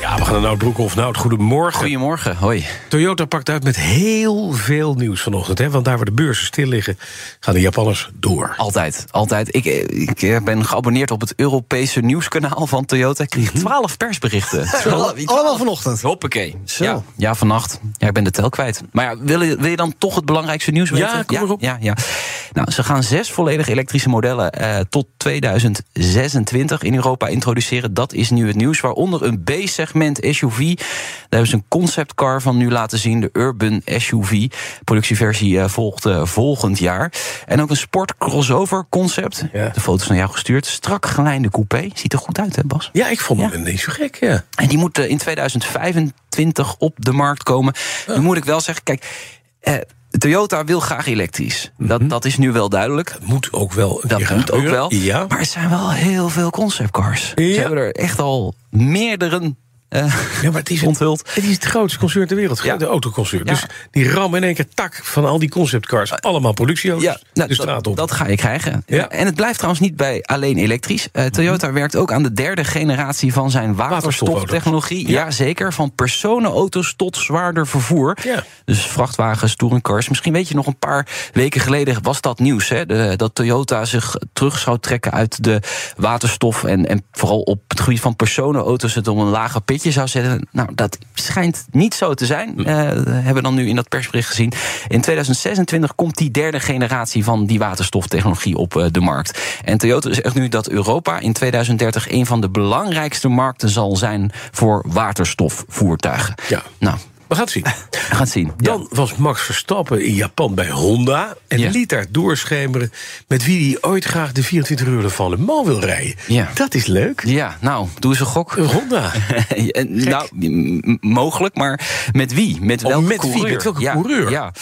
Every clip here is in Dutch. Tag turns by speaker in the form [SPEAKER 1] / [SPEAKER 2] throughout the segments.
[SPEAKER 1] Ja, we gaan naar Nout Broekhoff. Nout, goedemorgen.
[SPEAKER 2] Goedemorgen, hoi.
[SPEAKER 1] Toyota pakt uit met heel veel nieuws vanochtend. Hè? Want daar waar de beurzen stil liggen, gaan de Japanners door.
[SPEAKER 2] Altijd, altijd. Ik, ik eh, ben geabonneerd op het Europese nieuwskanaal van Toyota. Ik kreeg twaalf persberichten.
[SPEAKER 3] Allemaal vanochtend.
[SPEAKER 2] Hoppakee.
[SPEAKER 3] Zo.
[SPEAKER 2] Ja, ja, vannacht. Ja, ik ben de tel kwijt. Maar ja, wil, je, wil je dan toch het belangrijkste nieuws weten?
[SPEAKER 1] Ja, kom maar op.
[SPEAKER 2] Ja, ja. Nou, ze gaan zes volledig elektrische modellen eh, tot 2026 in Europa introduceren. Dat is nu het nieuws. Waaronder een B-segment SUV. Daar hebben ze een conceptcar van nu laten zien. De Urban SUV. Productieversie eh, volgt eh, volgend jaar. En ook een sport crossover concept.
[SPEAKER 1] Ja.
[SPEAKER 2] De foto's naar jou gestuurd. Strak gelijnde coupé. Ziet er goed uit, hè Bas?
[SPEAKER 1] Ja, ik vond hem niet zo gek. Ja.
[SPEAKER 2] En die moet eh, in 2025 op de markt komen. Nu moet ik wel zeggen, kijk, eh, Toyota wil graag elektrisch. Dat, dat is nu wel duidelijk.
[SPEAKER 1] Moet ook wel. een
[SPEAKER 2] Dat
[SPEAKER 1] keer gaan
[SPEAKER 2] moet ook
[SPEAKER 1] gebeuren.
[SPEAKER 2] wel.
[SPEAKER 1] Mhm. Ja.
[SPEAKER 2] Maar er zijn wel heel veel conceptcars.
[SPEAKER 1] Ja.
[SPEAKER 2] Ze hebben er echt al meerdere eh
[SPEAKER 1] Ja, maar het is, het,
[SPEAKER 2] onthuld.
[SPEAKER 1] het is het grootste concern ter wereld.
[SPEAKER 2] Ja.
[SPEAKER 1] De autoconcern.
[SPEAKER 2] Ja. Ah.
[SPEAKER 1] Dus die ram in één keer tak van al die conceptcars. Allemaal productieauto's.
[SPEAKER 2] Ja, nou,
[SPEAKER 1] de
[SPEAKER 2] dat-
[SPEAKER 1] straat op.
[SPEAKER 2] Dat, ga je krijgen.
[SPEAKER 1] Ja. Mhm.
[SPEAKER 2] En het blijft trouwens niet bij alleen elektrisch. Eh, Toyota werkt ook aan de derde generatie van zijn waterstoftechnologie.
[SPEAKER 1] Ja.
[SPEAKER 2] Ja, zeker. Van personenauto's tot zwaarder vervoer.
[SPEAKER 1] Ja.
[SPEAKER 2] Dus vrachtwagens, touringcars. Misschien weet je nog een paar weken geleden was dat nieuws. Hè? De- dat Toyota zich terug zou trekken uit de waterstof. En, en vooral op het gebied van personenauto's het om een lager pitje zou zetten. Nou, dat schijnt niet zo te zijn. Eh, hebben we dan nu in dat persbericht gezien. In 2026 komt die derde generatie van die waterstoftechnologie op eh, de markt. En Toyota zegt nu dat Europa in 2030 een van de belangrijkste markten zal zijn voor waterstofvoertuigen.
[SPEAKER 1] Ja.
[SPEAKER 2] Nou,
[SPEAKER 1] We gaan het zien.
[SPEAKER 2] we gaan het zien. Ja.
[SPEAKER 1] Dan was Max Verstappen in Japan bij Honda. En
[SPEAKER 2] Ja.
[SPEAKER 1] liet daar doorschemeren met wie hij ooit graag de 24 uur van Le Mans wil rijden.
[SPEAKER 2] Ja.
[SPEAKER 1] Dat is leuk.
[SPEAKER 2] Ja, nou, doe eens een gok.
[SPEAKER 1] Een Honda.
[SPEAKER 2] En, nou, m- m- mogelijk, maar met wie? Met
[SPEAKER 1] Oh,
[SPEAKER 2] welke
[SPEAKER 1] met wie?
[SPEAKER 2] coureur?
[SPEAKER 1] Met welke
[SPEAKER 2] ja,
[SPEAKER 1] coureur?
[SPEAKER 2] Ja.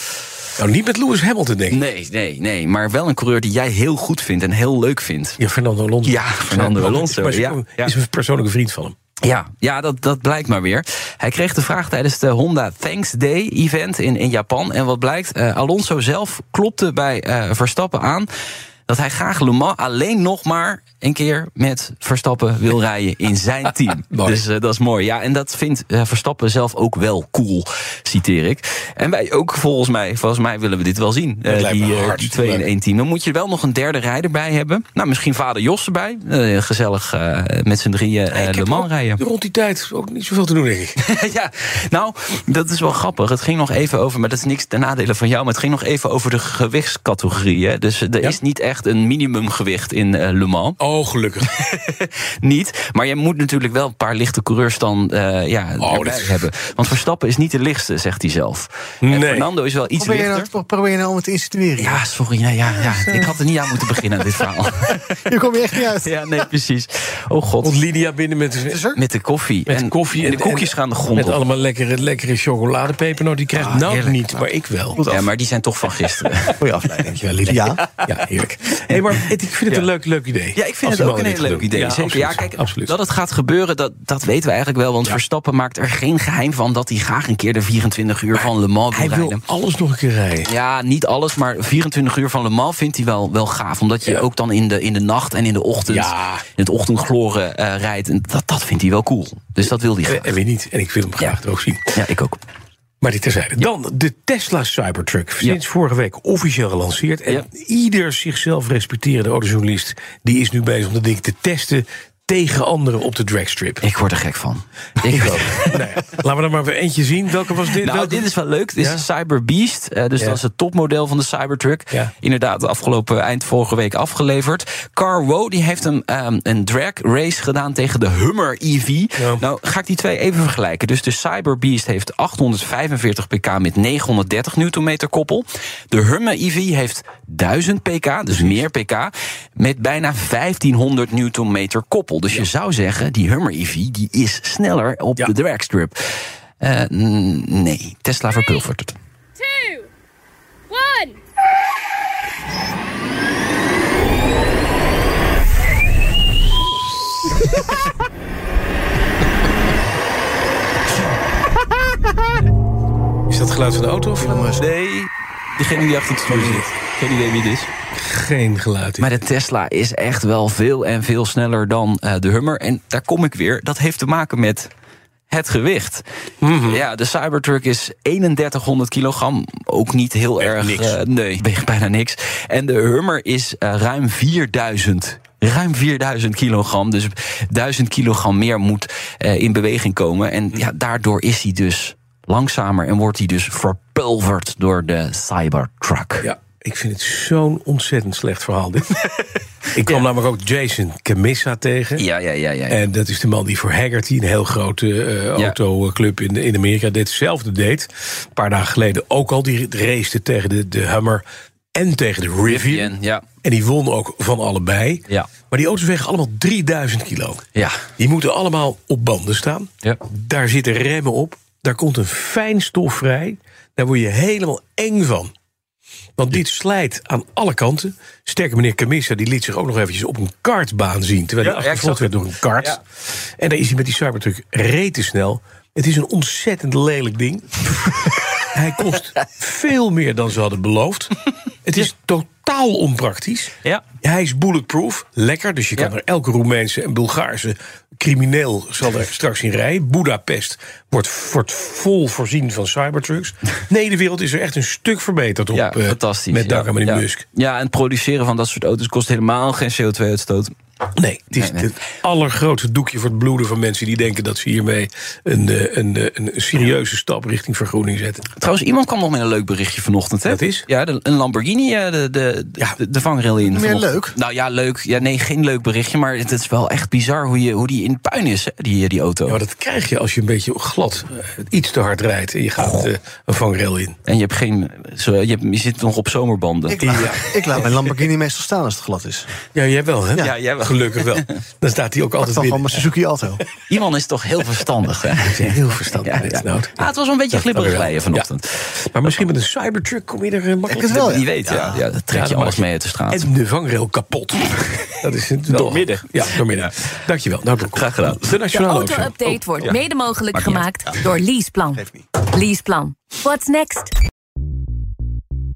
[SPEAKER 1] nou, niet met Lewis Hamilton, denk ik.
[SPEAKER 2] Nee, nee, nee. Maar wel een coureur die jij heel goed vindt en heel leuk vindt.
[SPEAKER 1] Ja, Fernando Alonso.
[SPEAKER 2] Ja, Fernando
[SPEAKER 1] Zijn-
[SPEAKER 2] Alonso,
[SPEAKER 1] Is, mijn-
[SPEAKER 2] ja, ja.
[SPEAKER 1] is een persoonlijke vriend van hem.
[SPEAKER 2] Ja, ja dat, dat blijkt maar weer. Hij kreeg de vraag tijdens de Honda Thanks Day event in, in Japan. En wat blijkt, eh, Alonso zelf klopte bij eh, Verstappen aan... dat hij graag Le Mans alleen nog maar een keer met Verstappen wil rijden in zijn team.
[SPEAKER 1] Mooi.
[SPEAKER 2] Dus eh, dat is mooi. Ja, en dat vindt eh, Verstappen zelf ook wel cool, citeer ik. En wij ook, volgens mij, volgens mij willen we dit wel zien. Eh,
[SPEAKER 1] lijkt me
[SPEAKER 2] die, eh, die
[SPEAKER 1] hartstikke
[SPEAKER 2] twee in
[SPEAKER 1] leuk.
[SPEAKER 2] één team. Dan moet je wel nog een derde rijder bij hebben. Nou, misschien vader Jos erbij. Eh, gezellig eh, met z'n drieën eh,
[SPEAKER 1] Ik
[SPEAKER 2] Le
[SPEAKER 1] heb
[SPEAKER 2] Mans
[SPEAKER 3] oh.
[SPEAKER 1] ook
[SPEAKER 2] rijden.
[SPEAKER 1] Rond die tijd ook niet zoveel te doen, denk ik.
[SPEAKER 2] ja, nou, dat is wel grappig. Het ging nog even over, maar dat is niks ten nadele van jou... maar het ging nog even over de gewichtscategorieën. Dus er
[SPEAKER 1] Ja.
[SPEAKER 2] is niet echt een minimumgewicht in eh, Le Mans.
[SPEAKER 1] Oh, gelukkig.
[SPEAKER 2] Niet. Maar je moet natuurlijk wel een paar lichte coureurs dan eh, ja,
[SPEAKER 1] Oh,
[SPEAKER 2] erbij
[SPEAKER 1] dat is-
[SPEAKER 2] hebben. Want Verstappen is niet de lichtste, zegt hij zelf. En
[SPEAKER 1] Nee.
[SPEAKER 2] Fernando is wel iets
[SPEAKER 3] Probeer je,
[SPEAKER 2] lichter.
[SPEAKER 3] nou, probeer je nou om het te insinueren.
[SPEAKER 2] Ja, sorry. Ja, ja, ja. Ik had er niet aan moeten beginnen, aan dit verhaal.
[SPEAKER 3] Hier kom je echt niet uit.
[SPEAKER 2] ja, nee, precies. Oh god.
[SPEAKER 1] Komt Lydia binnen met,
[SPEAKER 3] Is er?
[SPEAKER 2] Met de koffie.
[SPEAKER 1] met
[SPEAKER 2] en,
[SPEAKER 1] koffie.
[SPEAKER 2] en de koekjes gaan de grond
[SPEAKER 1] Met
[SPEAKER 2] op.
[SPEAKER 1] allemaal lekkere, lekkere chocoladepeper. Nou, die krijgt
[SPEAKER 2] Ah,
[SPEAKER 1] nou
[SPEAKER 2] heerlijk.
[SPEAKER 1] niet, maar ik wel.
[SPEAKER 2] Ja, maar die zijn toch van gisteren.
[SPEAKER 3] Goeie afleiding.
[SPEAKER 1] Dankjewel, Lydia.
[SPEAKER 3] Ja.
[SPEAKER 1] Ja, heerlijk. Hé, maar het- ik vind het een leuk, leuk idee.
[SPEAKER 2] Ja, ik vind
[SPEAKER 1] Als
[SPEAKER 2] het
[SPEAKER 1] die
[SPEAKER 2] ook een
[SPEAKER 1] mannen
[SPEAKER 2] heel
[SPEAKER 1] dit
[SPEAKER 2] leuk
[SPEAKER 1] gaan
[SPEAKER 2] idee.
[SPEAKER 1] doen.
[SPEAKER 2] zeker.
[SPEAKER 1] absoluut.
[SPEAKER 2] ja, kijk,
[SPEAKER 1] absoluut.
[SPEAKER 2] dat het gaat gebeuren, dat, dat weten we eigenlijk wel. Want Verstappen maakt er geen geheim van dat hij graag een keer de 24 uur van Le Mans wil
[SPEAKER 1] Hij wil
[SPEAKER 2] rijden.
[SPEAKER 1] alles nog een keer rijden.
[SPEAKER 2] Ja, niet alles, maar 24 uur van Le Mans vindt hij wel, wel gaaf. Omdat je
[SPEAKER 1] Ja.
[SPEAKER 2] ook dan in de, in de nacht en in de ochtend,
[SPEAKER 1] Ja.
[SPEAKER 2] in het ochtendgloren eh, rijdt. En dat, dat vindt hij wel cool. Dus dat wil hij
[SPEAKER 1] En,
[SPEAKER 2] graag.
[SPEAKER 1] en weer Eh, niet. En ik wil hem graag
[SPEAKER 2] Ja.
[SPEAKER 1] er ook zien.
[SPEAKER 2] Ja, ik ook.
[SPEAKER 1] Maar dit terzijde. Dan de Tesla Cybertruck. Sinds vorige week officieel gelanceerd. En
[SPEAKER 2] Ja.
[SPEAKER 1] ieder zichzelf respecterende autojournalist... die is nu bezig om dat ding te testen tegen anderen op de dragstrip.
[SPEAKER 2] Ik word er gek van. Ik ook.
[SPEAKER 1] nou ja, laten we er maar weer eentje zien. Welke was dit?
[SPEAKER 2] Nou,
[SPEAKER 1] Welke-
[SPEAKER 2] dit is wel leuk. Dit
[SPEAKER 1] Ja.
[SPEAKER 2] is de Cyber Beast. eh, dus
[SPEAKER 1] Ja.
[SPEAKER 2] dat is het topmodel van de Cybertruck.
[SPEAKER 1] Ja.
[SPEAKER 2] Inderdaad, afgelopen eind vorige week afgeleverd. Car Wo, die heeft een, ehm, een drag race gedaan tegen de Hummer EV.
[SPEAKER 1] Ja.
[SPEAKER 2] Nou, ga ik die twee even vergelijken. Dus de Cyber Beast heeft 845 pk met 930 newtonmeter koppel. De Hummer EV heeft 1000 pk, dus meer pk, met bijna 1500 newtonmeter koppel. Dus je zou zeggen, die Hummer EV die is sneller op
[SPEAKER 1] Ja.
[SPEAKER 2] de dragstrip. Eh, n- nee, Tesla verpulvert het.
[SPEAKER 4] two, one.
[SPEAKER 1] geluid van de auto? Of?
[SPEAKER 2] Nee, diegene die achter het stuur zit. Geen idee wie het is.
[SPEAKER 1] Geen geluid.
[SPEAKER 2] Maar de Tesla is echt wel veel en veel sneller dan eh, de Hummer. En daar kom ik weer. Dat heeft te maken met het gewicht.
[SPEAKER 1] Mhm.
[SPEAKER 2] Ja, de Cybertruck is 3100 kilogram. Ook niet heel erg.
[SPEAKER 1] niks.
[SPEAKER 2] eh, nee, weegt bijna niks. En de Hummer is eh, ruim 4000. Ruim 4000 kilogram. Dus 1000 kilogram meer moet eh, in beweging komen. En ja, daardoor is hij dus langzamer en wordt hij dus verpulverd door de Cybertruck.
[SPEAKER 1] Ja, ik vind het zo'n ontzettend slecht verhaal. Dit. ik kwam namelijk ook Jason Camissa tegen.
[SPEAKER 2] ja, ja, ja. ja, ja.
[SPEAKER 1] En dat is de man die voor Haggerty, een heel grote eh autoclub in, in Amerika, ditzelfde deed. Een paar dagen geleden ook al. Die race tegen de, de Hummer en tegen de Rivian.
[SPEAKER 2] ja.
[SPEAKER 1] En die won ook van allebei.
[SPEAKER 2] Ja.
[SPEAKER 1] Maar die auto's wegen allemaal 3000 kilo.
[SPEAKER 2] Ja.
[SPEAKER 1] Die moeten allemaal op banden staan.
[SPEAKER 2] Ja.
[SPEAKER 1] Daar zitten remmen op. Daar komt een fijn stof vrij. Daar word je helemaal eng van. Want dit slijt aan alle kanten. Sterker meneer Camissa, die liet zich ook nog eventjes op een kartbaan zien. Terwijl
[SPEAKER 2] Ja,
[SPEAKER 1] hij
[SPEAKER 2] ja, ik
[SPEAKER 1] achtervolgd
[SPEAKER 2] zag
[SPEAKER 1] werd door een kart.
[SPEAKER 2] Ja.
[SPEAKER 1] En daar is hij met die Cybertruck rete snel. Het is een ontzettend lelijk ding. hij kost veel meer dan ze hadden beloofd. Het is totaal onpraktisch.
[SPEAKER 2] Ja.
[SPEAKER 1] Hij is bulletproof, lekker. Dus je kan
[SPEAKER 2] Ja.
[SPEAKER 1] er elke Roemeense en Bulgaarse crimineel zal er straks in rijden. Budapest wordt, wordt vol voorzien van cybertrucks. Nee, de wereld is er echt een stuk verbeterd op.
[SPEAKER 2] Ja,
[SPEAKER 1] eh,
[SPEAKER 2] fantastisch.
[SPEAKER 1] Met dank
[SPEAKER 2] ja,
[SPEAKER 1] aan meneer
[SPEAKER 2] ja.
[SPEAKER 1] Musk.
[SPEAKER 2] Ja, en het produceren van dat soort auto's kost helemaal geen CO2-uitstoot.
[SPEAKER 1] Nee, het is
[SPEAKER 2] Nee, nee.
[SPEAKER 1] het allergrootste doekje voor het bloeden van mensen die denken dat ze hiermee een, eh, een, eh, een serieuze stap richting vergroening zetten.
[SPEAKER 2] Trouwens, iemand kwam nog met een leuk berichtje vanochtend. Hè?
[SPEAKER 1] Dat is?
[SPEAKER 2] Ja, de- een Lamborghini eh, de, de, de, de vangrail in. vanochtend.
[SPEAKER 3] leuk?
[SPEAKER 2] Nou ja, leuk. Ja, nee, geen leuk berichtje. Maar het is wel echt bizar hoe, je, hoe die in het puin is, hè, die, die auto.
[SPEAKER 1] Ja, maar dat krijg je als je een beetje glad eh, iets te hard rijdt en je gaat eh, een vangrail in.
[SPEAKER 2] En je, hebt geen, zo, je, hebt- je zit nog op zomerbanden.
[SPEAKER 3] Ik, laat- ik laat mijn Lamborghini meestal staan als het glad is.
[SPEAKER 1] Ja, jij wel, hè?
[SPEAKER 2] Ja, jij wel.
[SPEAKER 1] Gelukkig wel. Dan staat hij ook
[SPEAKER 3] Pak
[SPEAKER 1] altijd
[SPEAKER 3] dan gewoon
[SPEAKER 1] binnen.
[SPEAKER 3] mijn Suzuki Alto.
[SPEAKER 2] Iemand is toch heel verstandig, hè?
[SPEAKER 1] Ja, heel verstandig.
[SPEAKER 2] Ja,
[SPEAKER 1] dit,
[SPEAKER 2] ja.
[SPEAKER 1] Nout.
[SPEAKER 2] Ah, het was wel een beetje
[SPEAKER 1] Dat
[SPEAKER 2] glibberig
[SPEAKER 1] kan weer wel.
[SPEAKER 2] rijden vanochtend.
[SPEAKER 1] Maar misschien met een cybertruck kom je er eh,
[SPEAKER 3] Ik
[SPEAKER 1] makkelijk
[SPEAKER 3] het wel,
[SPEAKER 2] Wie
[SPEAKER 3] ja.
[SPEAKER 2] weet, ja. ja, dat trek
[SPEAKER 1] Ja,
[SPEAKER 2] je
[SPEAKER 1] dat
[SPEAKER 2] alles
[SPEAKER 1] mag.
[SPEAKER 2] mee uit de straat.
[SPEAKER 1] En de vangrail kapot. Dat is het wel.
[SPEAKER 2] Doormidden.
[SPEAKER 1] Ja, doormidden. Dankjewel. Nou, Broek.
[SPEAKER 2] Graag gedaan.
[SPEAKER 1] De
[SPEAKER 5] De
[SPEAKER 1] Nationale
[SPEAKER 5] auto-update
[SPEAKER 1] Auto.
[SPEAKER 5] wordt mede mogelijk gemaakt door Leaseplan. Leaseplan. What's next?